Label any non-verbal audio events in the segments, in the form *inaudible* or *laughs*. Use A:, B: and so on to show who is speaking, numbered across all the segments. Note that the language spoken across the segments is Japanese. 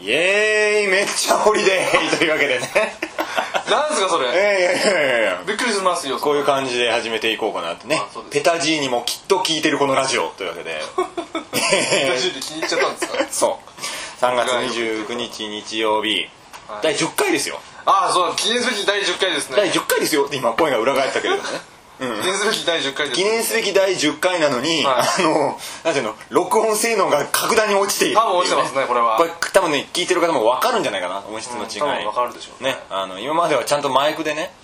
A: イエーイめっちゃホリデーというわけでね
B: なんすかそ
A: い
B: れ
A: やいやいやいやいや
B: びっくりしますよ
A: こういう感じで始めていこうかなってね
B: あそうです
A: ペタジーにもきっと聞いてるこのラジオというわけ *laughs* で
B: 大丈夫で気に入っちゃったんですか
A: そう3月29日日曜日
B: はい
A: 第10回ですよ
B: ああそう記念すべき第10回です
A: 第
B: ね
A: 10回ですよって今声が裏返ったけれどもね
B: 記念すべき第10回で
A: *laughs*
B: す
A: 記念すべき第10回なのに、
B: は
A: あ
B: い
A: のなんていうの録音性能が格段に落ちている
B: 多分落ちてますねこれは
A: これ多分ね聞いてる方も分かるんじゃないかな音質の違い、
B: うん多分分かるでしょうね
A: ねあの今まではちゃんとマイクでね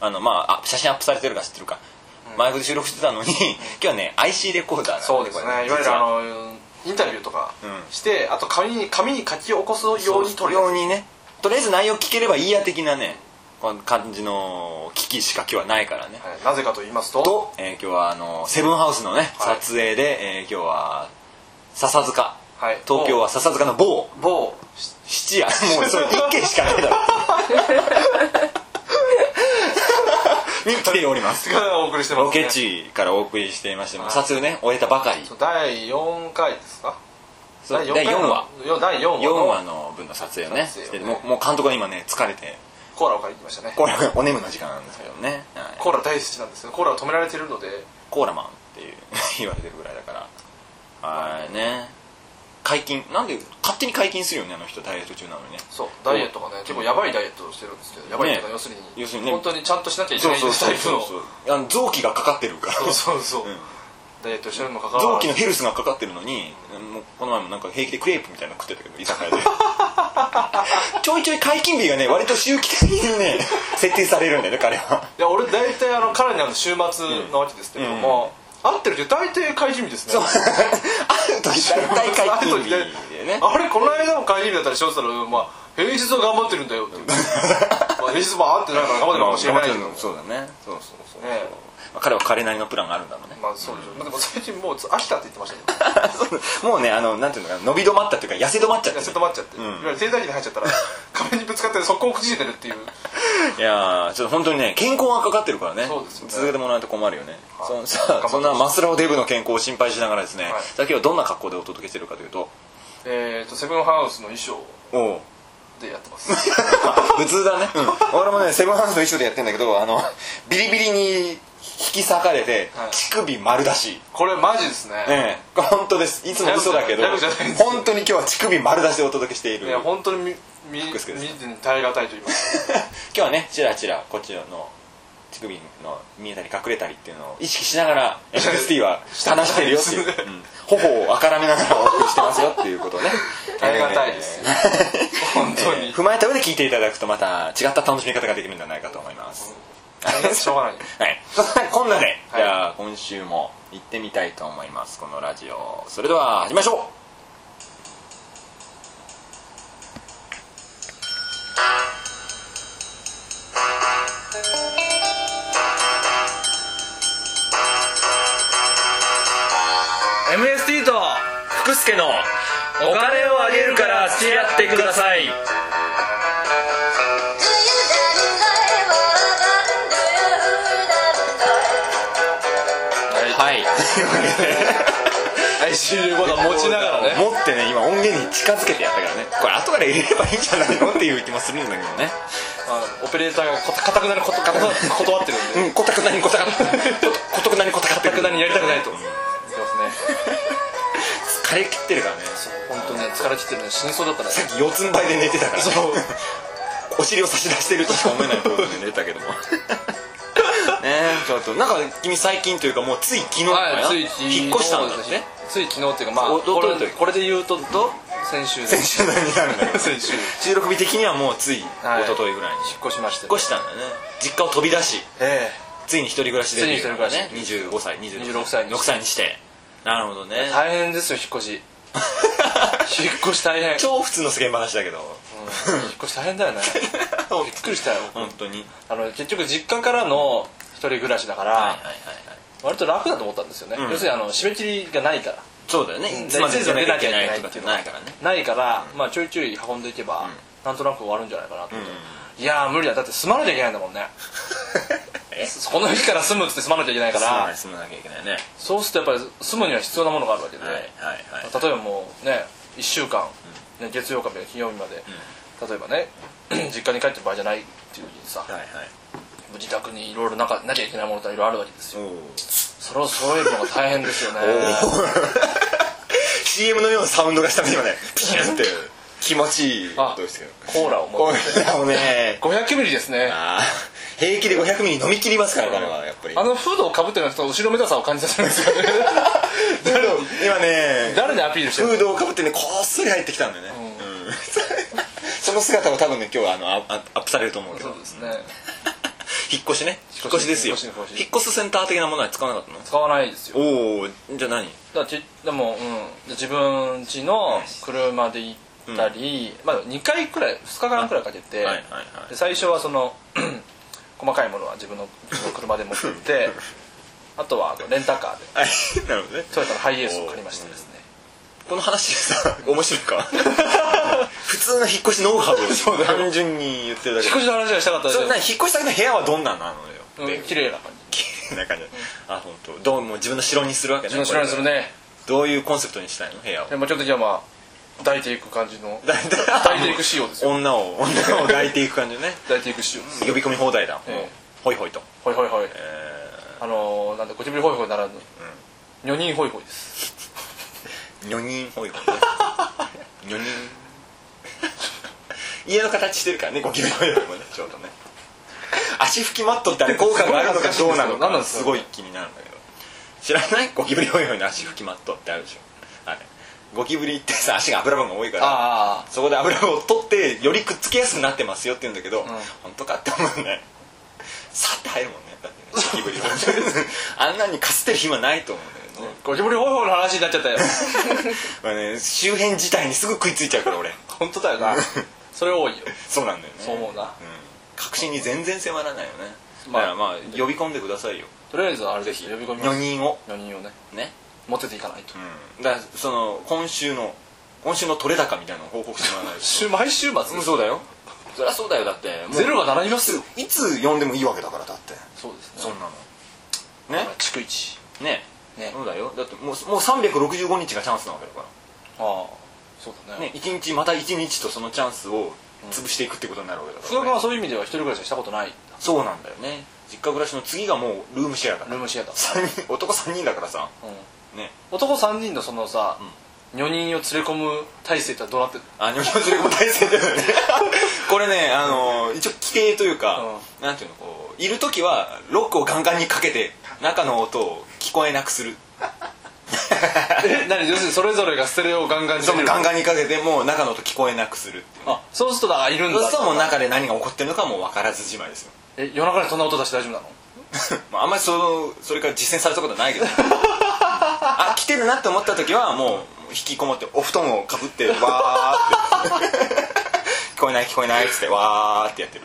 A: あの、まあ、あ写真アップされてるか知ってるか、マイクで収録してたのに *laughs* 今日はね IC レコーダーなん
B: そうです
A: これ
B: ねいわゆ
A: 実
B: るあ
A: は
B: のインタビューとか
A: ん
B: してあと紙に紙に書き起こすように撮るや
A: ようにねとりあえず内容聞ければいいや的なねこの感じの機器しか今日はないからね
B: つ、はいなぜかと言いますと
A: と、えー今日はあのセブンハウスのね、
B: はい
A: 撮影で、えー今日は笹塚、
B: はい
A: 東京は笹塚の某
B: 某
A: 七
B: *laughs*
A: 夜もうそれ一軒しかないだろに来ております
B: がお送りしてます
A: ロ
B: ね
A: ケ地からお送りしていましてもう撮影ね終えたばかり
B: そう第4回ですか
A: そう
B: 四
A: 第4
B: の
A: 話
B: よ第4話
A: 4話
B: の
A: の分の撮影をね
B: 撮影を
A: し
B: ね
A: てもうもう監督は今ね疲れて
B: コーラを借りてきましたね
A: コーラお眠の時間なんですけどね、はい
B: コーラ大好きなんですけどコーラを止められてるので
A: コーラマンっていう *laughs* 言われてるぐらいだからはいね解禁なんで勝手に解禁するよねあの人ダイエット中なのにね
B: そうダイエットがね結構やばいダイエットをしてるんですけどやばいっていうか
A: ね
B: 要するに
A: 要するにね
B: 本当にちゃんとしなきゃいけないタイプの
A: うあの臓器がかかってるから
B: そうそうそう
A: うん
B: ダイエットしてるのもかかわ
A: 臓
B: ら
A: 器
B: ず
A: のヘルスがかかってるのにもうこの前もなんか平気でクレープみたいなの食ってたけど居酒屋 *laughs* でちょいちょい解禁日がね割と周期的にね設定されるんだよね彼はい
B: や俺大体あの彼にあの週末なわけですけども、合ってるけど大体会議日ですね
A: ある時大体解禁日でね
B: あれこの間も会議日だったりしようって言ったら、まあ、平日は頑張ってるんだよっていうまあ平日も合ってないから頑張ってるかもしれないけど、
A: そうだねそうそうそう
B: ね
A: まあ彼は彼なりのプランがあるんだろうね *laughs*
B: まあそうでしょう、でも最近もう飽きたって言ってましたけど
A: もうねあのなんていうのかな伸び止まったというか痩せ止まっちゃって
B: 痩
A: る
B: せ止まっちゃって、いわゆる停滞期に入っちゃっ
A: *laughs*
B: たら壁にぶつかって速攻くじいてるっていう
A: いやーちょっと本当にね健康がかかってるからね
B: そうですよね
A: 続けてもらわないと困るよね
B: はい
A: そん *laughs* さあそんなマスラオデブの健康を心配しながらですね、
B: い
A: さっきはどんな格好でお届けしてるかというと
B: えっとセブンハウスの衣装
A: おう
B: でやってます *laughs*
A: 普通だね、うん、俺もねセブンハウスの衣装でやってんだけどあのビリビリに引き裂かれて、
B: はい
A: 乳首丸出し
B: これマジですね
A: ええこれ本当ですいつも嘘だけど
B: ギャグじゃないです
A: 本当に今日は乳首丸出しでお届けしている
B: いや本当に見見見
A: 福助です
B: てに耐え難いと言いますか
A: 今日はねちらちらこっちの乳首の見えたり隠れたりっていうのを意識しながら NXT は話してるよ
B: *laughs*
A: っていう、うん頬をあからめながらお送りしてますよっていうことをね
B: *laughs* ありがたいで
A: *laughs*
B: す
A: えー
B: 本当
A: え
B: に
A: ー踏まえた上で聞いていただくとまた違った楽しみ方ができるんじゃないかと思います、
B: しょうがない
A: はいそんなこんなで、
B: はい
A: じゃあ今週も行ってみたいと思いますこのラジオそれでは始めましょう福助のお金をあげるから付き合ってください
C: 두유다는 걸 먹은 두유다는 걸
A: はい
B: 哀愁レコーダー持ちながらね
A: 持ってね今音源に近づけてやったからねこれ後から入れればいいんじゃないのっていう気もするんだけどね
B: *laughs* あのオペレーターがこかたくなにことかた断ってるんで
A: うんこたくなにこたかこたくなにこたかって
B: かたくなにやりたくないと
A: うん
B: 言ってますね
A: 疲れ切ってるからね
B: 本当ね疲れ切ってるね死にそうだったね
A: さっき四つん這いで寝てたから
B: そう
A: お尻を差し出してるとしか思えないポーズで寝てたけど
B: *laughs*
A: もねえちょっとなんか君最近というかもうつい昨日かな、
B: はいつい
A: 引っ越したんだってね
B: つい昨日っていうかまあ
A: おど
B: こ
A: どういう
B: れ
A: 時
B: これで言うとど先週です
A: 先週のようになるんだけど
B: *laughs* 先週
A: 収録日的にはもうつい一
B: はい
A: 昨日ぐらいに
B: 引っ越しまして
A: 引っ越したんだよね実家を飛び出し
B: え
A: ついに一人暮らしで
B: ついに一人暮らし
A: ね25歳26
B: 26歳にして
A: 6歳にしてなるほどね
B: え大変ですよ引っ越し引っ越し大変う
A: *laughs*
B: ん
A: 超普通の世間話だけど *laughs*
B: *laughs* 引っ越し大変だよね *laughs* びっくりしたよ
A: 本当に
B: あの結局実家からの一人暮らしだから、
A: はいはいはいはい
B: 割と楽だと思ったんですよね、
A: うん
B: 要するにあの締め切りがないから
A: そうだよねいつまで出なきゃいけないとかってないからね
B: ないから、まあ、ちょいちょい運んでいけば、なんとなく終わるんじゃないかなと思って、いやー無理だだって住まなきゃいけないんだもんね
A: え
B: そこの日から住むっつって住まなきゃいけないか
A: 住まな
B: ら
A: い住まなきゃいけないね
B: そうするとやっぱり住むには必要なものがあるわけで、
A: はいはいはい
B: 例えばもうね1週間ね、月曜から金曜日まで、例えばね *clears throat* 実家に帰ってる場合じゃないっていう時にさ、
A: はいはい
B: 自宅にいろいろなかなきゃいけないものといろいろあるわけですよ
A: お
B: それを揃えるのが大変です
A: *laughs*
B: よね
A: CM のようなサウンドがしたね今ねピュンって気持ちいい
B: あ
A: 音ですけど
B: コーラを持
A: こ
B: って
A: れもね
B: 500ミリですね
A: あー平気で500ミリ飲み切りますから彼はやっぱり
B: あのフードをかぶってるのはちょっと後ろめたさを感じさせるんですよね
A: *laughs* 今ね
B: 誰にアピールしてる
A: フ
B: の
A: ードをかぶってねこっそり入ってきたんだよね、うん *laughs* その姿を多分ね今日はあのアアップされると思うけど
B: そうですね
A: 引っ越しね
B: 引
A: 引
B: っ
A: っ
B: 越
A: 越
B: し
A: しですよ
B: 引っ越し引
A: 引っ
B: っ越し
A: 越すセンター的なものは使わなかったの
B: 使わないですよ
A: おおじゃあ何
B: だからちでも、うん、自分家の車で行ったり、まあ、2回くらい2日間くらいかけて、
A: はいはいはい
B: で最初はその *clears throat* 細かいものは自分の自分の車で持っ
A: *laughs*
B: てってあとはあのレンタカーで
A: はいなるほどね
B: トヨタのハイエースを借りましてですね
A: この話で *laughs* さ面白いか普通の引っ越しノウハウを単純に言ってるだけ
B: 引っ
A: で
B: 越しの話がしたかったです
A: そ
B: よ
A: れなに引っ越し先の部屋はどんなんなのよって
B: う
A: *laughs* い
B: ん
A: う
B: 綺麗な感
A: 綺麗な感じあ本当。どうも自分の城にするわけね
B: じ自分の知らないする
A: これ
B: ね
A: どういうコンセプトにしたいの部 *laughs* 屋を
B: でもちょっとじゃあまあ抱いていく感じの
A: 抱いて
B: 抱いていく仕様ですよ
A: 女を女を抱いていく感じね
B: 抱いていく仕様です
A: 呼び込み放題だ
B: ええ
A: もうほいほいと
B: ほいほいほい
A: えー
B: あのーなんだゴキブリホイホイならぬ女人ホイホイです
A: 女人ほいほいね女人 *laughs* 家の形してるからねゴキブリホイホイもねちょうどね足拭きマットってあれ効果があるのかどうなの
B: 何なん
A: か
B: ですか
A: すごい気になるんだけど知らないゴキブリホイホイの足拭きマットってあるでしょあれゴキブリってさ足が油分が多いから
B: あ
A: そこで油を取ってよりくっつけやすくなってますよって言うんだけど、
B: ん
A: 本当かって思うねさって入るもんねだってね
B: *laughs*
A: ゴキブリはあんなにかすってる暇ないと思うんだけどね
B: ゴキブリホイホイの話になっちゃったよ
A: まあね周辺自体にすぐ食いついちゃうから俺
B: 本当だよなそれ多いよ
A: そうなんだよね
B: そう思うな
A: 確信に全然迫らないよね
B: ま
A: だ
B: あ
A: からまあ呼び込んでくださいよ
B: とりあえずあれです呼び込みま
A: 4
B: す
A: 人を
B: 女人をね
A: ね
B: 持ってていかないと
A: うんだからその今週の今週の取れ高みたいなのを報告してもらわないと
B: *laughs* 週毎週末
A: そうだよそりゃそうだよだってもう
B: ゼロが並びますよ
A: いつ呼んでもいいわけだからだって
B: そうです
A: そん
B: ね
A: なのね
B: 逐一
A: ね
B: ね
A: そうだよだってもうもう365日がチャンスなわけだか
B: ああそうだ
A: らね一日また一日とそのチャンスを潰していくってことになるわけだか
B: 福田
A: ら、
B: 君はそういう意味では一人暮らしはしたことない
A: そうなんだよね実家暮らしの次がもうルームシェアだ
B: ルームシェアだ、
A: 三人男3人だからさ
B: うん、
A: ね
B: 男3人のそのさ、女人を連れ込む体制ってどうなってる
A: あ日本人も体制だよね *laughs* これねあの一応規定というか、なんていうのこういる時はロックをガンガンにかけて中の音を聞こえなくする
B: *laughs* え何要するにそれぞれがステレオをガンガンに
A: そう
B: してる
A: ガンガンにかけてもう中の音聞こえなくするっていう
B: あそうするとだからいるんだ
A: そうするともう中で何が起こってるのかもう分からずじまいですよ
B: え夜中にそんな音出して大丈夫なの
A: *laughs* まあ、あんまりそのそれから実践されたことはないけ
B: *laughs*
A: どあ来てるなって思った時はもう引きこもってお布団をかぶってわーって *laughs* 聞こえない聞こえないっつってわーってやってる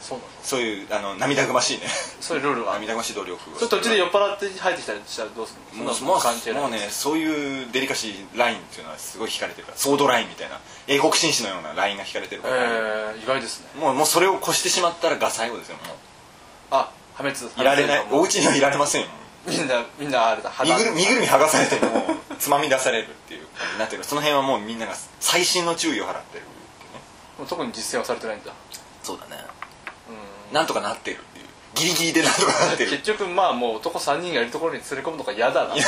B: そうなの
A: そういうあの涙ぐましいね
B: そういうルールは
A: 涙ぐましい努力を
B: それ途中で酔っ払って入ってきたりしたらどうする
A: も
B: の
A: うもう
B: そんな関係ない
A: もうねそういうデリカシーラインっていうのはすごい引かれてるからソードラインみたいな英国紳士のようなラインが引かれてる
B: え
A: から、
B: ー、意外ですね
A: もうもうそれを越してしまったらが最後ですよも
B: あ破滅
A: ういられないお
B: 破
A: 家にはいられませんよ
B: 滅みんなみんなあれだ
A: 身
B: 肌
A: ぐる身ぐるみ剥がされてもうつまみ出されるっていう感じになってるからその辺はもうみんなが最新の注意を払ってる
B: もう特に実践はされてないんだ
A: そうだねなんとかなってるっていうギリギリでなんとかなって
B: 結
A: る
B: 局まあもう男3人がいるところに連れ込むのが嫌
A: *laughs*
B: だなっていう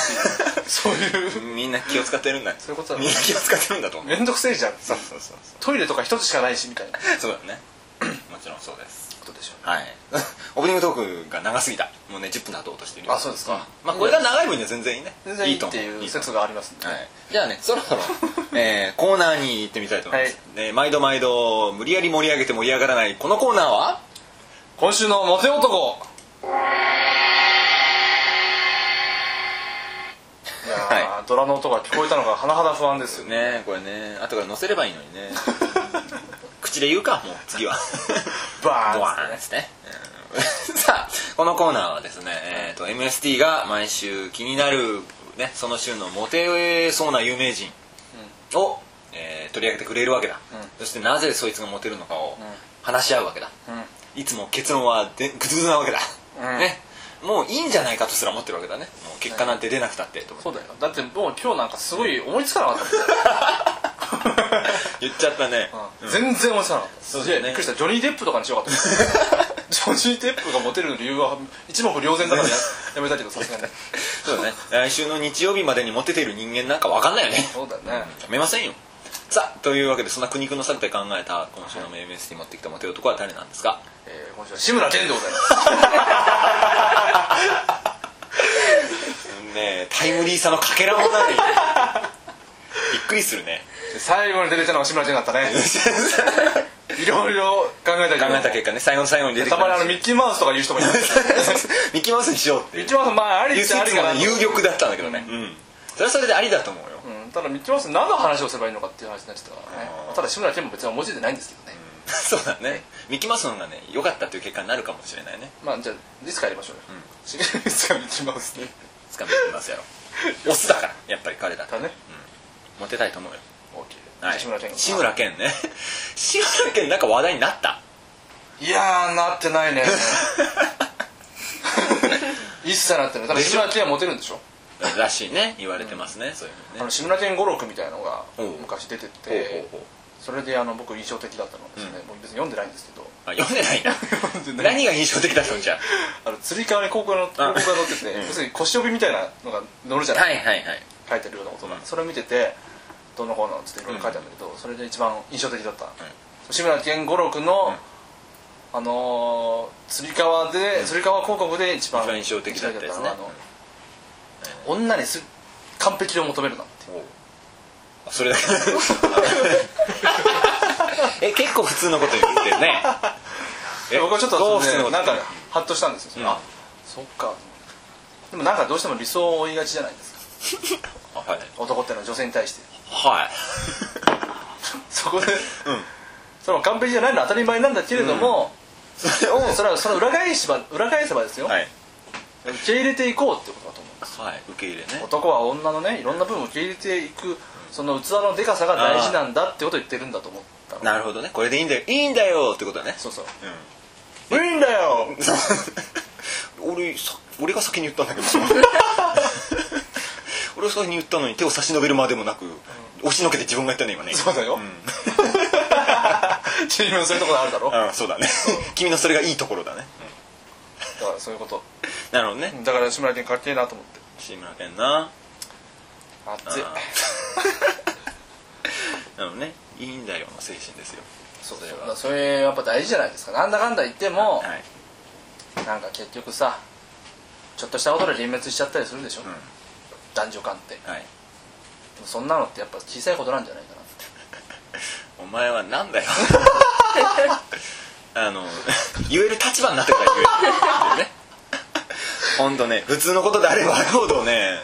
B: そういう
A: みんな気を使ってるんだ
B: そういうことだね
A: みんな気を使ってるんだと思う
B: 面倒くせえじゃん
A: そうそうそうそ
B: トイレとか一つしかないしみたいなこ
A: うそうだねもちろんそうです
B: とでしょ
A: はい *laughs* オープニングトークが長すぎたもうね10分だと落としてる
B: あそうですか
A: まあこれが長い分には全然いいね
B: 全然いいって
A: と思
B: いう
A: と思
B: 説がありますんで
A: はい、じゃあねそろ
B: *laughs*
A: そろ、えーコーナーに行ってみたいと思います、ね毎度毎度無理やり盛り上げて盛り上がらないこのコーナーは
B: 今週のモテ男いやー、
A: は
B: ドラの音が聞こえたのが甚だ不安ですよね
A: ねこれね後から載せればいいのに
B: *laughs*
A: ね口で言うかもう次は
B: バ
A: ドワ
B: ーン
A: ーン
B: で
A: です
B: ね
A: すねうん *laughs* さあこのコーナーはですね、えー、と MST が毎週気になる、ね、その週のモテそうな有名人を、えー取り上げてくれるわけだ、
B: うん
A: そしてなぜそいつがモテるのかを
B: ん
A: 話し合うわけだ、いつも結論はでグズグズなわけだ、
B: うん
A: ねもういいんじゃないかとすら思ってるわけだねもう結果なんて出なくたってと思って
B: そうだよだってもう今日なんかすごい思いつかなかったもん
A: い言っちゃったね、
B: うん全然落ちなかった
A: そうだ
B: すげ
A: よ
B: え
A: ね
B: びっくりしたジョニー・デップとかにしようかと思ったジョニー・デップがモテる理由は一目瞭然だからややめたけどさ *laughs* すがに
A: そうだね来週の日曜日までにモテてる人間なんか分かんないよね
B: そうだね
A: やめませんよさあというわけでそんな苦肉の策で考えた今週の MST 持ってきたモテ男は誰なんですか
B: えー今週は志村けんでございます
A: ねえタイムリーさのかけらもないびっくりするね
B: 最後に出てきたのは志村けんだっ
A: *laughs*
B: たねいろいろ考えたり
A: 考えた結果ね最後の最後に出てき
B: た
A: た
B: まにあの
A: *laughs*
B: ミッキーマウスとか言う人もいる
A: ミッキーマウスにしようって
B: ミッキーマウスまああり
A: 言
B: っ
A: う
B: ちゃあり
A: 説
B: か
A: も
B: な
A: ね有力だったんだけどね、うんそれはそれでありだと思うよ、
B: うんただミッキーマウス何の話をすればいいのかっていう話になっちゃったからねただ志村けんも別に文字でないんですけどね
A: *laughs* そうだねミッキーマウスの方がね良かったという結果になるかもしれないね
B: まあじゃあいつかやりましょうよいつかミッキーマウスね
A: つかみます
B: *laughs*
A: やろオスだからやっぱり彼だと
B: だね
A: モテたいと思うよ
B: OK
A: はい
B: 志村けんが
A: 志村けんね *laughs* 志村けんなんか話題になった
B: いやーなってないね
A: *laughs*
B: 一切なってないただ志村けんはモテるんでしょ
A: らしいね言われてますね、そういうふうに
B: あの
A: ね
B: 志村けん五六みたいなのが
A: おう
B: 昔出て
A: ほう
B: て
A: ほうほう
B: それであの僕印象的だったのはですね、もう別に読んでないんですけど
A: あ読んでない
B: んで
A: な
B: ない
A: 何が印象的だったのじゃ
B: あの釣り革に広告の広告が載ってて、
A: うん
B: 要するに腰帯みたいなのが載るじゃ
A: あ
B: ない、
A: はいはいはい
B: 書いてるようなことが、
A: うん
B: それを見ててどうのこうのちょっといろいろ書いてあるんだけど、それで一番印象的だった、志村けん五六の、あのー、釣り革で、釣り革広告で一番
A: 一番印象的だったやつね
B: 印象のはあの女にす完璧を求めるなって
A: あそれだけ *laughs* え結構普通のこと言ってるねえ
B: 僕はちょっと
A: どう普
B: そ
A: 通のこ
B: れで
A: と
B: なんかハッとしたんですよ、
A: うん
B: あそっかでもなんかどうしても理想を追いがちじゃないですか
A: あはい
B: 男ってのは女性に対して
A: はい
B: そこで、それも完璧じゃないのは当たり前なんだけれども、
A: それを
B: それはその裏返しば裏返せばですよ、
A: *laughs* はい
B: 受け入れていこうってことだと思
A: はい受け入れね
B: う男は女のねいろんな部分を受け入れていくその器のでかさが大事なんだってことを言ってるんだと思ったの
A: なるほどねこれでいいんだよいいんだよってことだね
B: そうそう
A: うん
B: いいんだよ
A: *laughs* 俺さ俺が先に言ったん *laughs* だけど俺が先に言ったのに手を差し伸べるまでもなく、押しのけて自分が言ったね今ね
B: そうだよ、 *laughs* 君もそういうところあるだろだか
A: あそうだね君のそれがいいところだね
B: らそういうこと
A: なるほどね
B: だから志村けんかっけえなと思って
A: 志村けんな
B: 熱い
A: あー *laughs* なのねいいんだよの精神ですよ
B: そう
A: それは
B: だからそれやっぱ大事じゃないですかなんだかんだ言っても、
A: はい
B: なんか結局さちょっとしたことで幻滅しちゃったりするでしょ、
A: ん
B: 男女間って
A: はい
B: そんなのってやっぱ小さいことなんじゃないかなって
A: お前はなんだよあの言える立場になってから言えるね本当ね普通のことであればあるほどね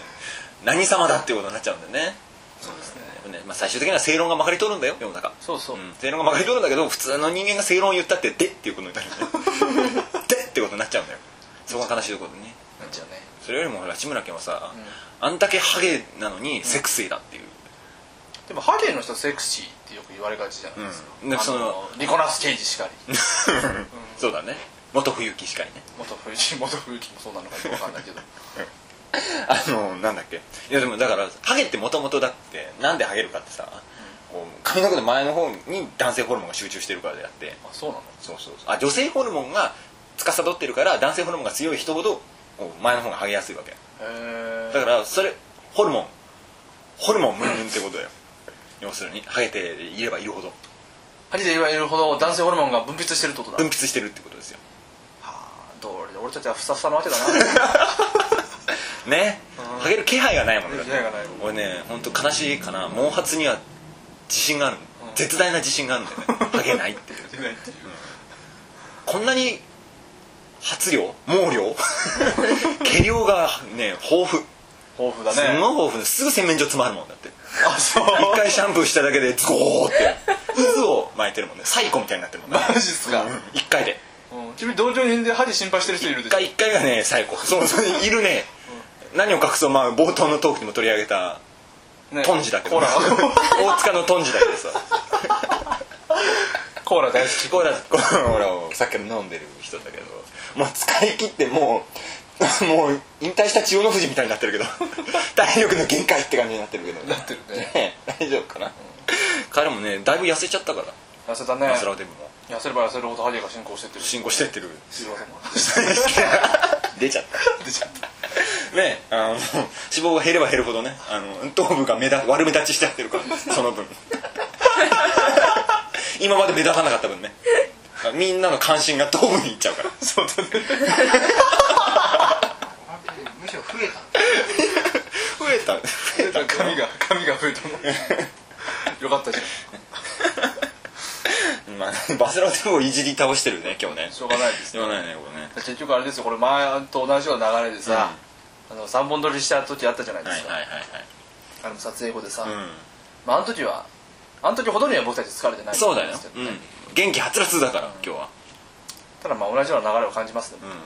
A: 何様だっていうことになっちゃうんだよね
B: そうですね
A: でもねまあ、最終的には正論がまかり通るんだよ世の中
B: そうそう、
A: ん正論がまかり通るんだけど普通の人間が正論を言ったってでっていうことになるよねでってことになっちゃうんだよそこが悲しいところでね
B: なっちゃうね
A: それよりもほら志村けんはさ、あんだけハゲなのにセクシーだっていう、
B: でもハゲの人セクシーってよく言われがちじゃないですか、
A: うんで
B: あ
A: その
B: のニコラス・ケイジしかり
A: *laughs* そうだね元冬木しかりね
B: 元冬木元冬木もそうなのかよくわかんないけど
A: *laughs* あのなんだっけいやでもだからハゲってもともとだってなんでハゲるかってさ、こう髪の毛の前の方に男性ホルモンが集中してるからであって
B: あそうなの
A: そうそうそうあ女性ホルモンが司ってるから男性ホルモンが強い人ほどこう前の方がハゲやすいわけ
B: へえ
A: だからそれホルモンホルモンムンムンってことだよ要するにハゲていればいるほど
B: ハゲで言われるほど男性ホルモンが分泌してるってことだ、
A: 分泌してるってことですよ *laughs*
B: はあどうりで俺たちはふさふさなわけだな
A: ねハゲる気配がないもんだっ
B: 気
A: て
B: 配がない
A: 俺ね本当悲しいかな毛髪には自信がある、
B: うん
A: 絶大な自信があるんだよ
B: *laughs*
A: ねハゲないっていうこんなに発量毛
B: *laughs*
A: 量毛量がね豊富
B: 豊富だ
A: すんごい
B: ね
A: 豊富ですぐ洗面所詰まるもんだって
B: あそう
A: 一回シャンプーしただけでズゴーって渦を巻いてるもんねサイコみたいになってるもんね
B: マジっすか、
A: うん一回で
B: うん、君同情人でハゲ心配してる人いる
A: 一
B: でしょ
A: 回一回がね最高そうそういるね何を隠そうまあ冒頭のトークにも取り上げた
B: ね
A: トンジだけど
B: コー
A: ね
B: ラ
A: *laughs*
B: *laughs*
A: 大塚のトンジだけどさ
B: コーラ大好
A: コーラコーラを酒飲んでる人だけどもう使い切ってもうもう引退した千代の富士みたいにな *laughs* ってるけど体力の限界って感じになってるけど
B: きになってるね
A: ね大丈夫かな、彼もねだいぶ痩せちゃったから
B: 痩せたね
A: マスラオデブも
B: 痩せれば痩せるほどハゲが進行してってる
A: 進行してってる
B: しようと思う
A: *laughs* 出ちゃった出ちゃったねあの脂肪が減れば減るほどねあの頭部が目立悪目立ちしちゃってるからその分 *laughs* 今まで目立たなかった分ねみんなの関心が頭部にいっちゃうからそうだね
D: むしろ増えた
A: 増えた増えた *laughs*
B: 髪が髪が増えたもんよかったじゃん
A: まあ、バスラでもいじり倒してるね今日ね
B: しょうがないです
A: しょうがないねこれね
B: 結局あれですよこれ前と同じような流れでさ、あの3本撮りした時あったじゃないで
A: はい
B: す
A: はい
B: か、
A: はい
B: あの撮影後でさ、
A: はい、
B: まあ、あの時はあの時ほどには僕たち疲れてな
A: う
B: い
A: ん、そうだよ
B: です、け
A: う
B: どね
A: ん、元気はつらつだから今日は
B: ただまあ同じような流れを感じますね、
A: うんね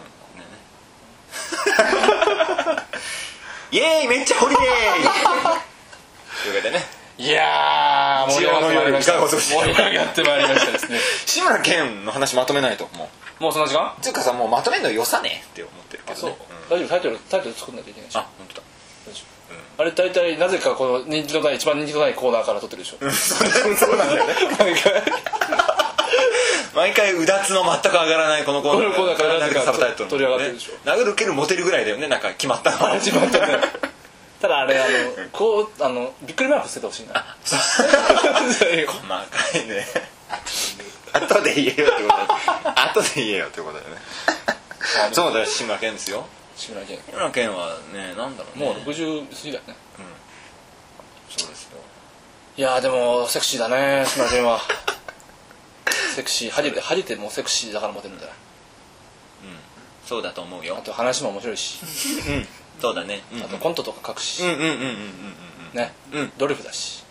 A: イエーイめっちゃホリデーというわけでね
B: いやー
A: 盛り上がってまいりました
B: 盛り上がってまいりましたですね
A: 志村けんの話まとめないとも
B: もうその時間
A: うつうかさもうまとめるのよさねって思ってるけどねん
B: 大丈夫タイトルタイトル作んないといけないし
A: あ本当だ
B: あれ大体なぜかこの人気のない一番人気のないコーナーから撮ってるでしょ
A: そうなんだよね
B: 毎回
A: 毎回うだつの全く上がらないこのコーナー
B: このコーナーから
A: なんかサブタイトル
B: 取り上がってるでしょ
A: 殴る蹴るモテるぐらいだよねなんか決まった *laughs* の
B: 始まったねただあれあのこうあのびっくりマーク捨ててほしいな
A: そう
B: そう
A: 細かいね後で言えよってことだ後で言えよってことだよねそうだよ志村けんですよ
B: 志村けん
A: 志村けんはねなんだろうね
B: もう60過ぎだよね
A: そうですよ
B: いやーでもセクシーだね志村けんはセクシーハゲてハゲてもうセクシーだからモテるんじゃない
A: そうだと思うよ
B: あと話も面白いし
A: そうだねうん
B: あとコントとか書くし、
A: うんうんうんうん
B: ね、
A: うん
B: ドリフだし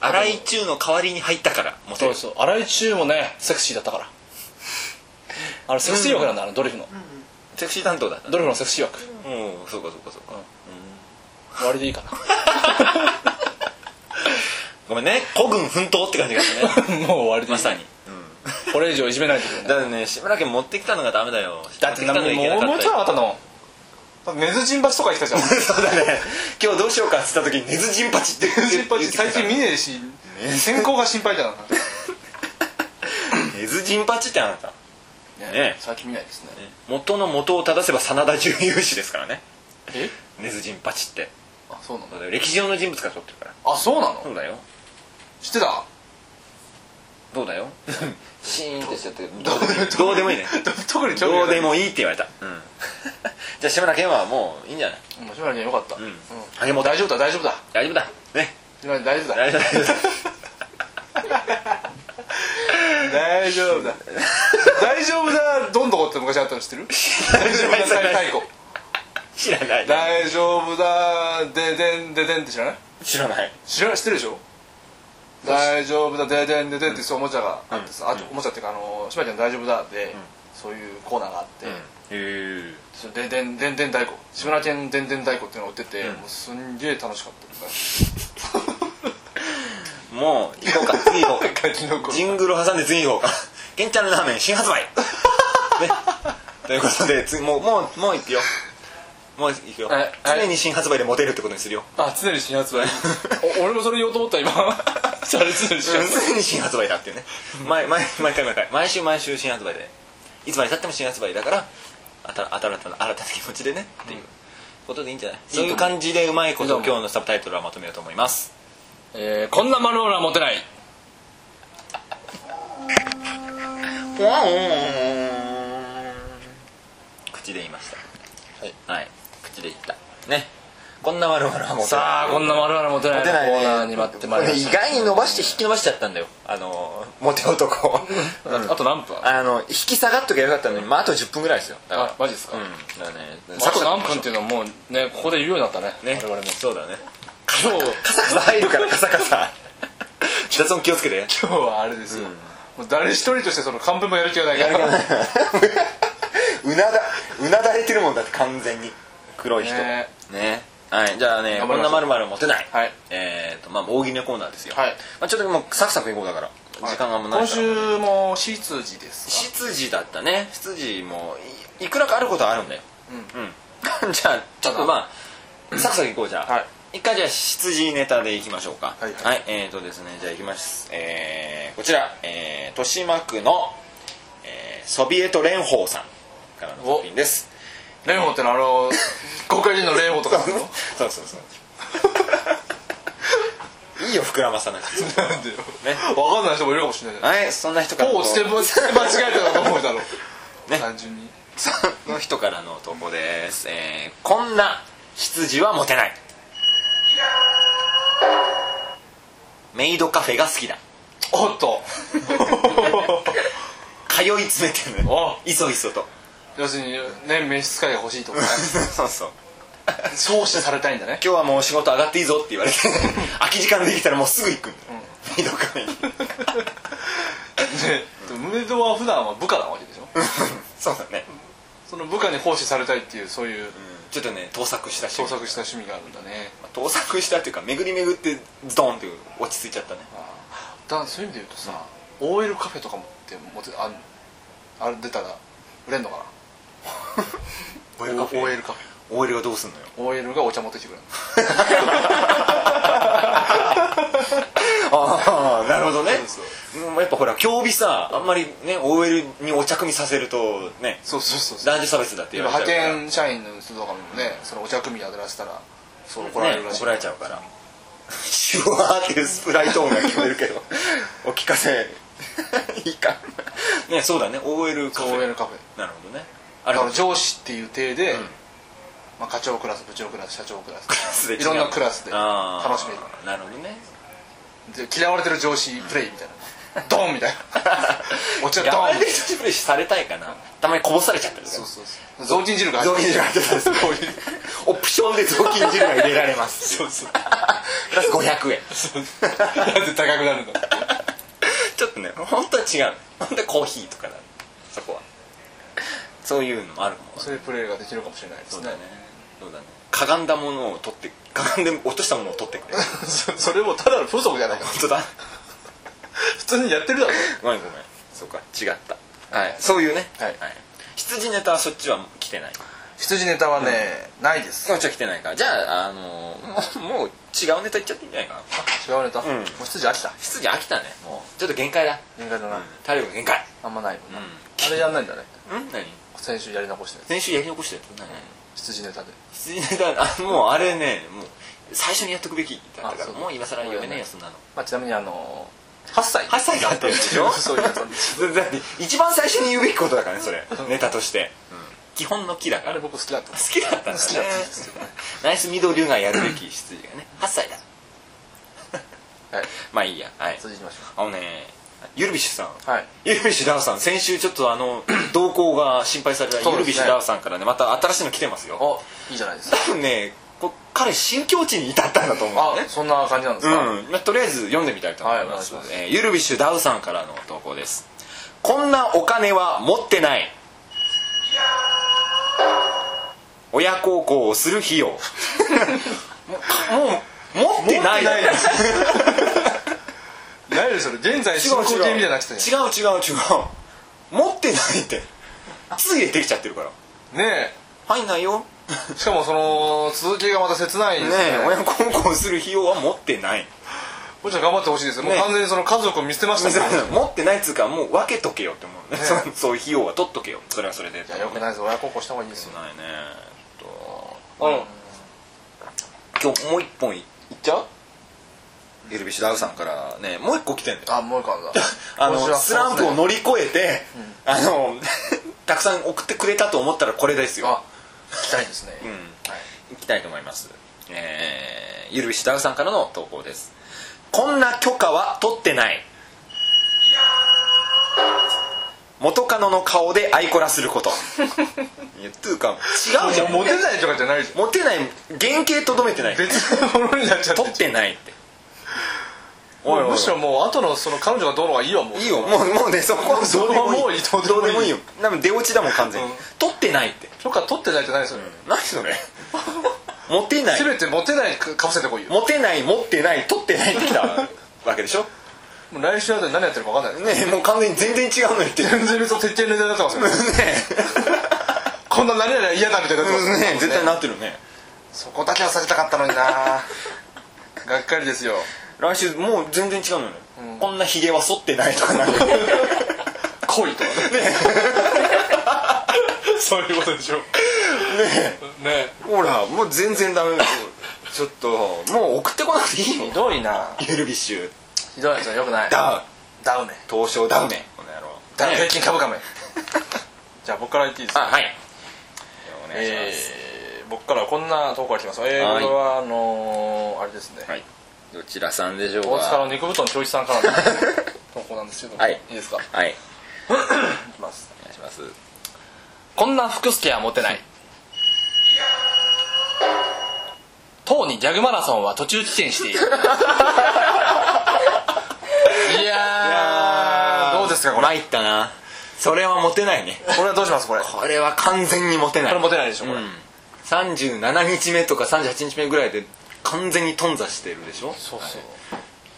A: 荒井中の代わりに入ったからモテ
B: そう
A: る
B: そう荒井中もねセクシーだったからあのセクシー枠なんだあのドリフの、
A: セクシー担当だった
B: ドリフのセクシー枠
A: うんそうかそうかそうか
B: 終わりでいいか
A: ごめんね孤軍奮闘って感じがするね
B: な *laughs* もう終わりでいい
A: まさに
B: これ以上いじめないといけない
A: だってね志村けん持ってきたのがダメだよ
B: だって
A: 持
B: な
A: きた
B: も
A: の
B: う
A: がいけなか
B: 思
A: っ
B: い
A: た
B: つ
A: よ
B: かなかったのメズジンバチとか来たじゃん
A: そうだね今日どうしようかっつった時に「ネズジンパチ」って
B: メズジンバチ最近見ねえし先行が心配だな
A: ネズジンパチってあなたね
B: 最近見ないですね
A: 元の元を正せば真田重勇士ですからね
B: え
A: ネズジンパチって
B: あそうなの
A: そうだよ歴史上の人物から取ってるから
B: あそうなの
A: そうだよ
B: 知ってた
A: どうだよシーンってしちゃってどうでもいいどうでもいいね
B: 特に興味
A: ど
B: が
A: う
B: な
A: で
B: い
A: もいいって言われた、うんじゃあ志村けんはもういいんじゃない
B: もう志村けんよかった
A: ん
B: うんもう大丈夫だ大丈夫だ
A: 大丈夫だね
B: 志村けん大丈夫だ
A: 大丈夫だ
B: 大丈夫だ大丈夫だどんどこって昔あったの知っ
A: *laughs*
B: てる大丈夫だ最後
A: 知らない
B: 大丈夫だででんででんって知らない
A: 知らない
B: 知らない知ってるでしょ大丈夫だででんででんってそういうおもちゃがあってさ、あとおもちゃっていうかあの島ちゃん大丈夫だで、そういうコーナーがあって、
A: へ
B: そのでんでんでんでん太鼓志村けんでんでん太鼓っていうのを売ってて、もうすんげえ楽しかった
A: えもう行こうか次行こうか
B: キノコ
A: ジングル挟んで次行こうか「けんちゃんのラーメン新発売」ねということで次もうもうもう行くよもう行くよ
B: はいはい
A: 常に新発売でモテるってことにするよ
B: あ常に新発売 *laughs* お俺もそれ言おうと思った *laughs* 今それ常に新発売
A: 常に新発売だっていうね毎毎毎回毎回毎週毎週新発売でいつまでたっても新発売だからあた新たな新たな気持ちでねっていうことでいいんじゃないそういう感じでうまいことを今日のサブタイトルはまとめようと思います
B: えーこんな丸オーラー持てない
A: 口で言いました
B: はい、
A: 口で言ったねこんな悪者はもう
B: さあこんな丸オーラー持てないのコーナーに待ってまいりました
A: 意外に伸ばして引き伸ばしちゃったんだよあのモテ男
B: あと何分あ
A: あの引き下がっときゃよかったのに、まあ、あと10分ぐらいですよだから
B: マジですか、
A: うんだからね
B: あと何分っていうのはもうねここで言うようになったね
A: ね
B: 我々も
A: そうだね
B: 今日
A: カサカサ入るからカサカサ雑音気をつけて
B: 今日はあれですよ、もう誰一人としてそのカンペもやる気がないからね
A: *laughs* うなだうなだれてるもんだって完全に黒い人ね
B: ね
A: はいじゃあね
B: 頑張
A: こ
B: り
A: ん
B: ま
A: な
B: しょう
A: まるまる持てない、
B: はい
A: えっ、とまあ大喜利のコーナーですよ、
B: はい
A: まあ、ちょっともうサクサクいこうだから、時間がもうないか
B: 今
A: ら
B: 週もシーツジです
A: 執事だったね執事もい *laughs* いくらかあることはあるんだようん、じゃあちょっとまあサクサクいこうじゃあ、
B: はい
A: 一回じゃあ羊ネタでいきましょうか
B: はい
A: えーとですねじゃあいきますえーこちら、えー豊島区の、えーソビエト連邦さんからの作品です
B: 蓮舫ってのはあの国会議員の蓮舫とかなの
A: *laughs* そうそう *laughs* そういいよ膨らまさなくて
B: *laughs* なんでよ
A: ね
B: 分かんない人もいるかもしれないじゃん
A: はいそんな人から
B: ポを捨て間違えたかと思うだろ *laughs* う、
A: ね
B: 単純に
A: その人からの投稿です、えーこんな羊はモテないメイドカフェが好きだ
B: おっ *laughs* と
A: 通い詰めてるのよ
B: あ
A: いそいそと
B: 要するにね召使いが欲しいと *laughs* かね
A: そうそう
B: 創始されたいんだね
A: 今日はもう仕事上がっていいぞって言われて空き時間できたらもうすぐ行くんだよ、メイドカフェに
B: でムネドは普段は部下なわけでしょ
A: そうだね
B: その部下に奉仕されたいっていうそういう
A: ちょっとね盗作したし
B: 創作した趣味があるんだね
A: 盗作したっていうか巡り巡ってズドンって落ち着いちゃったね
B: だそういう意味で言うとさ OL カフェとかもって持ってあんあれ出たら売れんのかな
A: OL カフェ
B: OL カフ
A: OL がどうすんのよ
B: ェ OL がお茶持ってきてくれる
A: ああなるほどね
B: そう
A: うんやっぱほら競技さあんまりね OL にお茶組みさせるとね
B: そうそうそうそう
A: 男女差別だって言われちゃ
B: 派
A: うから
B: 遣社員の人とかもねそのお茶組やらせたらそう怒られるらしい、
A: ね怒られちゃうからシュワーっていうスプライト音が聞こえるけどお聞かせ *laughs* いいかねそうだね OL カフェ
B: OL カフェ
A: なるほどねあ
B: だ
A: れ
B: から上司っていう体で、
A: ん
B: まあ、課長クラス部長クラス社長クラス
A: スで違う
B: いろんなクラスで
A: あー
B: 楽しめる
A: なるほどね
B: で嫌われてる上司プレイみたいな、ドンみたい
A: *laughs*
B: なお茶ドン
A: やばいプレイされたいかなたまにこぼされちゃったりす
B: そ
A: る
B: うそうそう雑巾汁が入
A: 雑
B: っ
A: 巾
B: てる
A: 汁が入ってたんです
B: こういう
A: オプションで雑巾汁が入れられます
B: そうそう
A: プラス500円
B: なんで *laughs* 高くなるんだ
A: ちょっとね本当は違う本当はコーヒーとかだそこはそういうのもあるかも
B: そういうプレイができるかもしれないです
A: そう
B: ね *laughs*
A: だねそうだねかがんだものを取ってかがんで落としたものを取ってくれ本
B: そそれもただの風俗じゃないか
A: 当だ
B: *laughs* 普通にやってるだろ
A: ごめんごめんそうか違ったはいそういうね
B: はい
A: 羊ネタはそっちは来てない
B: 羊ネタはね、ないです
A: そっちは来てないからじゃああのーもうもう違うネタいっちゃっていいんじゃないかな
B: 違うネタ、
A: ん
B: もう羊飽きた
A: 羊飽きたねもうちょっと限界だ
B: 限界だな、
A: 体力限界
B: あんまないもんな、
A: うん
B: あれやんないんだね
A: うん何
B: 先週やり残したやつ
A: 先週やり残したやつ何
B: 羊ネタで
A: 羊ネタあもうあれねもう最初にやっとくべきだった
B: あ
A: か
B: そ
A: ら
B: う
A: もう今更読めないよそんなの
B: まあちなみにあの8歳
A: 8歳だったでしょ
B: *laughs* そういうやつなんです
A: だって一番最初に言うべきことだからねそれネタとして、基本の木だか
B: あれ
A: ら好
B: 僕好きだった好
A: きだったんだね
B: 好きだったんですよ
A: *laughs* ナイス緑がやるべき羊がね8歳だ
B: はい
A: まあいいやはい
B: 続きましょ
A: あのねゆるびしゅさん
B: うはい
A: ゆるびしゅダウさん先週ちょっとあの *clears throat* 動向が心配された
B: そうですね
A: ゆるびしゅダウさんからねまた新しいの来てますよ
B: おいいじゃないです
A: 多
B: か
A: 分ねこ彼新境地に至ったんだと思う
B: あ
A: んだね
B: そんな感じなんですか、
A: うんまあ、とりあえず読んでみたいと思います,、
B: はいお願いします
A: えーゆるびしゅダウさんからの投稿ですこんなお金は持ってない親孝行をする費用もうかもう持ってない
B: 持ってないですいわゆるそれ現在進行形みたいになってたじ
A: 違う違う違う持ってないってついでできちゃってるから
B: ゃんね
A: 入んないよ
B: えしかもその続きがまた切ないで
A: ね
B: すね
A: え親孝行する費用は持ってない
B: もうちょっと頑張ってほしいですよもう
A: ねえ
B: 完全にその家族を見捨てましたね
A: *laughs* 持ってないっつうかもう分けとけよって思うね
B: ね
A: *laughs* そうそういう費用は取っとけよそれはそれで
B: いやよくないです親孝行した方がいいですよ
A: ないねえっとあ今日もう一本いいっちゃうエルビッシュダウさんからねもう一個来てんだ
B: *laughs*
A: よ
B: あもう一個あるんだ
A: あ
B: 今週は
A: のスランプを乗り越えて、あの *laughs* たくさん送ってくれたと思ったらこれですよ
B: あ聞きたいですね、
A: うん
B: はい
A: 行きたいと思いますえー、ゆるびしダウさんからの投稿ですこんな許可は取ってない元カノの顔でアイコラすることいやというか違うじゃん
B: もうモテないとかじゃないじ
A: モテない原型とどめてない
B: ゃん別のものになっちゃって
A: 取ってないって
B: もうむしろもう後のその彼女がどうのがいいわもう
A: いいよもうもうねそこは
B: そこはもういい
A: どうでもいいどうでもいいよ多分出落ちだもん完全に、
B: うん
A: 取ってないって
B: 許可取ってないってないですよね
A: 何そ *laughs* れモテない
B: せめてモテないかかぶせてこいよ
A: モテない持ってない取ってないってきたわけでしょ
B: もう来週あたり何やってるか分かんない
A: ねえもう完全に全然違うの言ってるね
B: 全然と鉄拳のネタになって
A: *laughs*
B: ますよ
A: え
B: こんな何々嫌だみたいになってますよ
A: ねえ絶対なってるね
B: そこだけは避けたかったのにな *laughs* がっかりですよ
A: 来週もう全然違うのよ、
B: うん
A: こんなひげは剃ってないとかな *laughs* る
B: 恋とはね
A: *laughs*
B: そういうことでしょねね
A: ほらもう全然ダメだよちょっともう送ってこなくていいよ
B: ひどいな
A: ゆるビッシュ
B: ひどいですよよくない
A: ダウン
B: ダウメ
A: 東証ダウメこの野郎
B: ダウ平
A: ね
B: 均株価め *laughs* じゃあ僕から言っていいです
A: あ
B: か
A: はいお願いしま
B: え
A: す、
B: ー僕からはこんな投稿が来ますえー
A: はい
B: これはあのーあれですね
A: はいどちらさんでしょうか
B: 大塚の肉布団長一さんから *laughs* の投稿なんですけど
A: はい
B: いですかい
A: はい
B: きます
A: お願いします
B: こんな福助はモテないとうにギャグマラソンは途中棄権 *laughs* しているいやーどうですかこれ
A: 参ったなそれはモテないね
B: これはどうしますこれこ
A: これは完全にモテない
B: れモテないでしょこれ、
A: うん、37日目とか38日目ぐらいで完全に頓挫してるでしょ
B: そうそう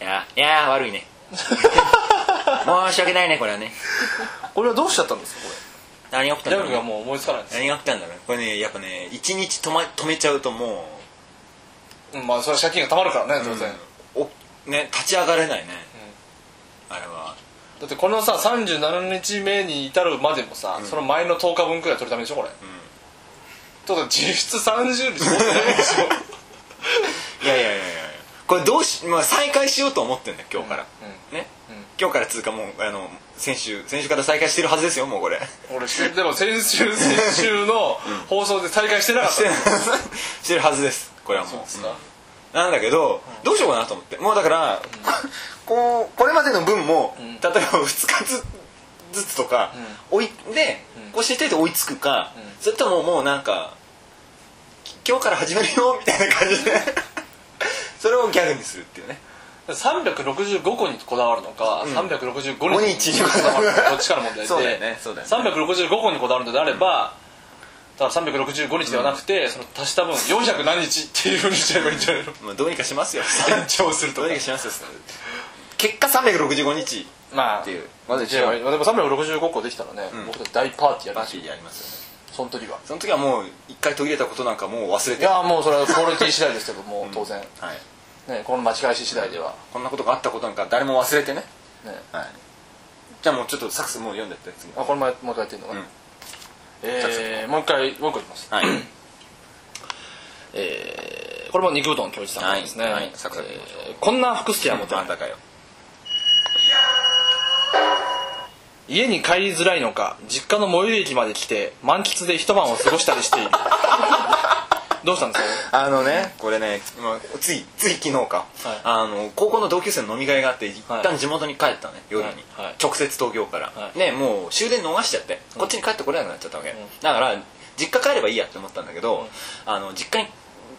A: いやいやー悪
B: *laughs*
A: いね申し訳ないねこれはね
B: これはどうしちゃったんですかこ
A: 何が起きた
B: れ
A: ん
B: ギ
A: だ
B: ャ
A: ろ
B: グ
A: う
B: が
A: ね
B: もう思いつかないんです
A: 何が起きたんだろうねこれねやっぱね1日止,、ま、止めちゃうとも
B: うんまあそれは借金がたまるからね当
A: う、
B: 然、
A: おね立ち上がれないね、あれは
B: だってこのさ37日目に至るまでもさ、その前の10日分くらい取るためでしょこれ、ってことは実質30日取るためでしょ
A: *laughs* いやいやいやいやこれどうし、まあ、再開しようと思ってんだよ今日から、
B: う
A: ね、
B: うん
A: 今日からっつうかもうあの先週先週から再開してるはずですよもうこれ
B: 俺しでも先週先週の放送で再開してなかった
A: してる *laughs* してるはずですこれはもう
B: そうですか
A: なんだけど、どうしようかなと思ってもうだから、こうこれまでの分も、
B: ん
A: 例えば2日ずずつとか、追いで、
B: うん
A: こうしてて追いつくか、
B: ん
A: それとももうなんかき今日から始めるよみたいな感じで *laughs* それをギャグにするっていうね
B: 365個にこだわるのか、365日にこ
A: こ
B: だ
A: だ
B: わ
A: わ
B: る
A: る
B: の
A: の
B: か
A: か
B: どっちから問題
A: *laughs*
B: で
A: そうだよねそうだよね
B: 365個にこだわるのであれば、だから365日ではなくて、その足した分400何日っていうふうにしちゃえばいいんじゃないの
A: まあどうにかしますよ
B: 延長する
A: *laughs*
B: と
A: ど
B: か
A: うにかしますよ結果365日
B: まあ
A: っていうまず
B: いやでも365個できたらね、
A: ん
B: 僕たち大パーティーや
A: パ
B: る
A: ーティーでやりますよね
B: その時は
A: その時はもう一回途切れたことなんかもう忘れ
B: い
A: て
B: やもうそれはクオリティ次第ですけども、当然、
A: はい、
B: ね、この巻き返し次第では、
A: こんなことがあったことなんか誰も忘れてね
B: ね、
A: はいじゃあもうちょっとサックスもう読んでって次
B: あこれ前もう一回やってんのかな、
A: うん
B: えーもう一回もう一個いきます、
A: はい
B: えーこれも肉うどん教授さんからですね、
A: はいはいサクサクいきましょう
B: えーこんな服好きは持てな
A: あ
B: い
A: んたかよ
B: 家に帰りづらいのか実家の最寄り駅まで来て満喫で一晩を過ごしたりしてい
A: *laughs*
B: るどうしたんですか
A: あのねこれね今ついつい昨日か、
B: はい
A: あの高校の同級生の飲み会があって一
B: はい
A: 旦地元に帰ったのね夜に、
B: はいはい
A: 直接東京から、
B: はい
A: ねもう終電逃しちゃってこっちに帰ってこれなくなっちゃったわけ、だから実家帰ればいいやって思ったんだけど、あの実家に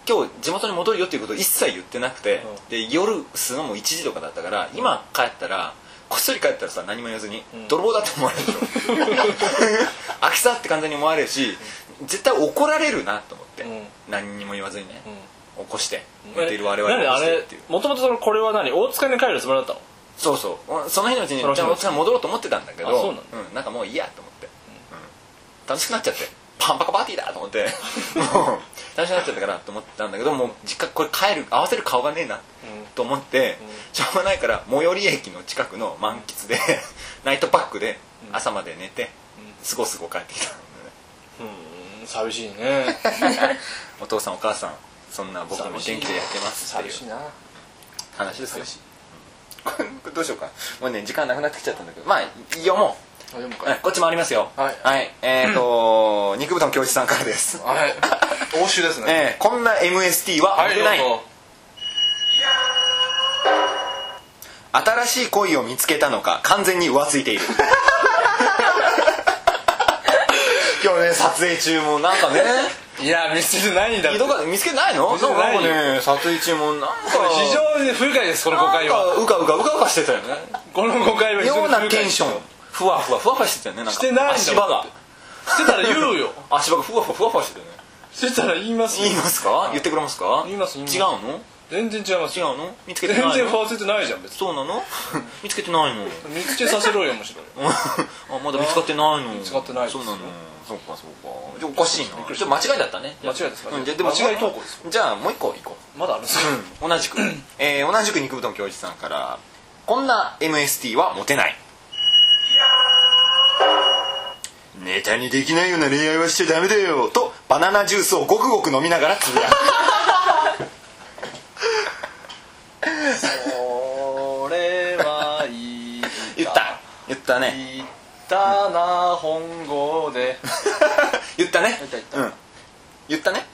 A: 今日地元に戻るよっていうことを一切言ってなくて、
B: うん
A: で夜すのも1時とかだったから今帰ったらこっそり帰ったらさ何も言わずに、泥棒だって思われるでしょ
B: *laughs*
A: 飽きさって完全に思われるし絶対怒られるなと思って、
B: うん
A: 何にも言わずにね、起こして
B: え
A: 寝ている我々を
B: なんで
A: 起こ
B: あ
A: して
B: れ
A: っていう
B: もともとそのこれは何大塚に帰るつもりだったの
A: そうそうその日のうちに
B: その日
A: じゃ
B: の
A: あ
B: うち
A: 大塚に戻ろうと思ってたんだけど
B: あそうなんだ
A: ん、なんかもういいやと思って、うん楽しくなっちゃってパンパカパーティーだと思って *laughs* もう楽しくなっちゃったからと思ってたんだけどもう実家これ帰る合わせる顔がねえなと思って、しょうがないから最寄り駅の近くの満喫でナイトパックで朝まで寝て、すごすご帰ってきた、
B: うん寂しいね
A: お父さんお母さんそんな僕も元気でやってますってい
B: 寂
A: う
B: しいな
A: 話ですよこれこれどうしようかもうね時間なくなってきちゃったんだけどまあ読も
B: 読む
A: う、
B: か
A: うんこっちもありますよ
B: はい
A: えっ、と肉布団教授さんからです
B: はい欧州です
A: え
B: ね
A: ーこんな MST は
B: は
A: あ
B: い
A: りない、
B: どうぞ
A: 新しい恋を見つけたのか完全に浮ついている *laughs* 今日ね撮影中もなん *laughs* かね
B: いや見せてないんだっ
A: ひ
B: て
A: どかった見つけてないの
B: 見つけてないよ
A: なんかね撮影中もなんか
B: 非常に不愉快ですこの誤
A: なん
B: 解は
A: かうかうかうかうかしてたよね
B: この誤解は非常に
A: 妙
B: 不愉快
A: なテンションふわふわふわふわしてたよねなんか
B: してないんだ
A: 足場が
B: してたら言うよ
A: 足場がふわふわふわふわしてたよね
B: してたら言いますよ
A: 言いますか言ってくれますか
B: 言います言います
A: 違うの
B: 全然違います
A: 違う
B: よ
A: の見つけ
B: 全
A: てないの
B: 然変わせてないじゃん別に
A: そうなの *laughs* 見つけてないの *laughs*
B: 見つけさせろよむしろよ
A: あまだ見つかってないの見
B: つかってないです
A: そう
B: よ
A: なのそうかそうかじゃあおかしいな
B: びっくり
A: ち
B: し
A: ょ
B: た
A: っと間違いだったね
B: 間違いですか
A: うんじゃあでも
B: 間違い投稿です
A: じゃあもう一個行こ
B: まだあるんですか
A: う同じ
B: *clears throat*
A: くえー同じく肉ぶとん教授さんからこんな MST はモテないネタにできないような恋愛はしちゃダメだよとバナナジュースをごくごく飲みながらつぶ
B: *laughs*
A: やく
B: それはいい
A: 言った言ったね
B: 言ったな本郷で
A: *laughs* 言ったね
B: 言った言った
A: うん言ったね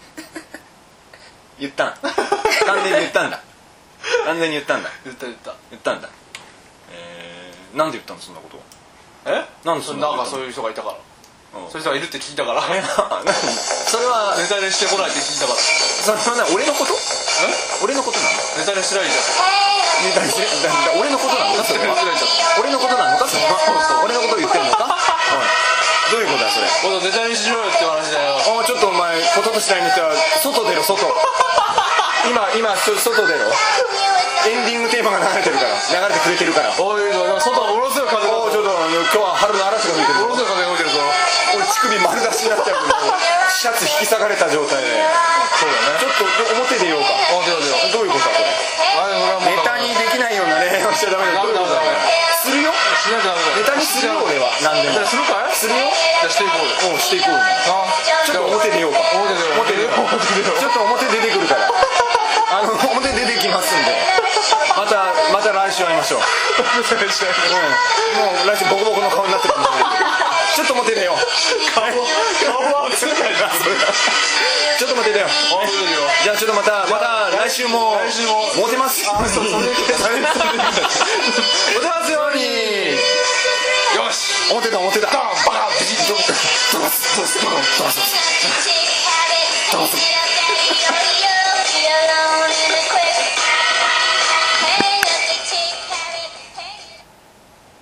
A: 言ったな完全に言ったんだ完全に言ったんだ
B: 言った言った
A: 言ったんだえー、なんで言ったのそんなこと
B: え
A: なんでそんな
B: なん
A: こと言ったの
B: かそういう人がいたから
A: うん
B: そういう人がいるって聞いたから
A: えななんだ *laughs* それは
B: *laughs* ネタにしてこないって聞いたから
A: それはね俺のこと俺のことなの
B: ネタにしてないじ
A: ねだだだ俺のことなのかそれは
B: 間違えちゃ
A: 俺のことなのかそれは俺のことを言ってる *laughs* のかおいどういうことだそれ
B: ゃんもっとネタにしろよって話だよ
A: ああちょっとお前こととしないにしては外出ろ *laughs* 外今今ちょ外出ろエンディングテーマが流れてるから流れてくれてるからお
B: おいおい外はものすごい風が
A: おちょっとあの今日は春の嵐が吹いて
B: も
A: る
B: のすごい風が吹いてるぞ
A: 俺乳首丸出しになっちゃうけどシャツ引き裂かれた状態でそうだねちょっと表出ようか
B: あ出ろ出ろ
A: どういうことだこれ
B: あれ俺はもう
A: ネタにできないような恋愛をしちゃダメだ
B: ダ
A: どう
B: メ
A: いう
B: ダ
A: こ
B: メ
A: とだ
B: ダメ
A: するよ
B: しなきゃダメだ
A: ネタにするよ俺は何で
B: ネタ
A: も
B: にするかい
A: するよ
B: じゃあしていこうよ
A: うんしていこうよ
B: あ
A: ちょっと表出ようか
B: 表出よう
A: 表出よう
B: 表出よう
A: ちょっと表出てくるからあの表出てきますんでまたまた来週会いましょううんもう来週ボコボコの顔になってるかもしれないけどちょっと表出よう顔顔は映らないなそれちょっと表出よう
B: あ出るよ
A: じゃあちょっとまたまた来週も
B: 来週も
A: モテますモテ *laughs* ますように
B: よし
A: 表だ表だ
B: バカビジッと
C: 知らない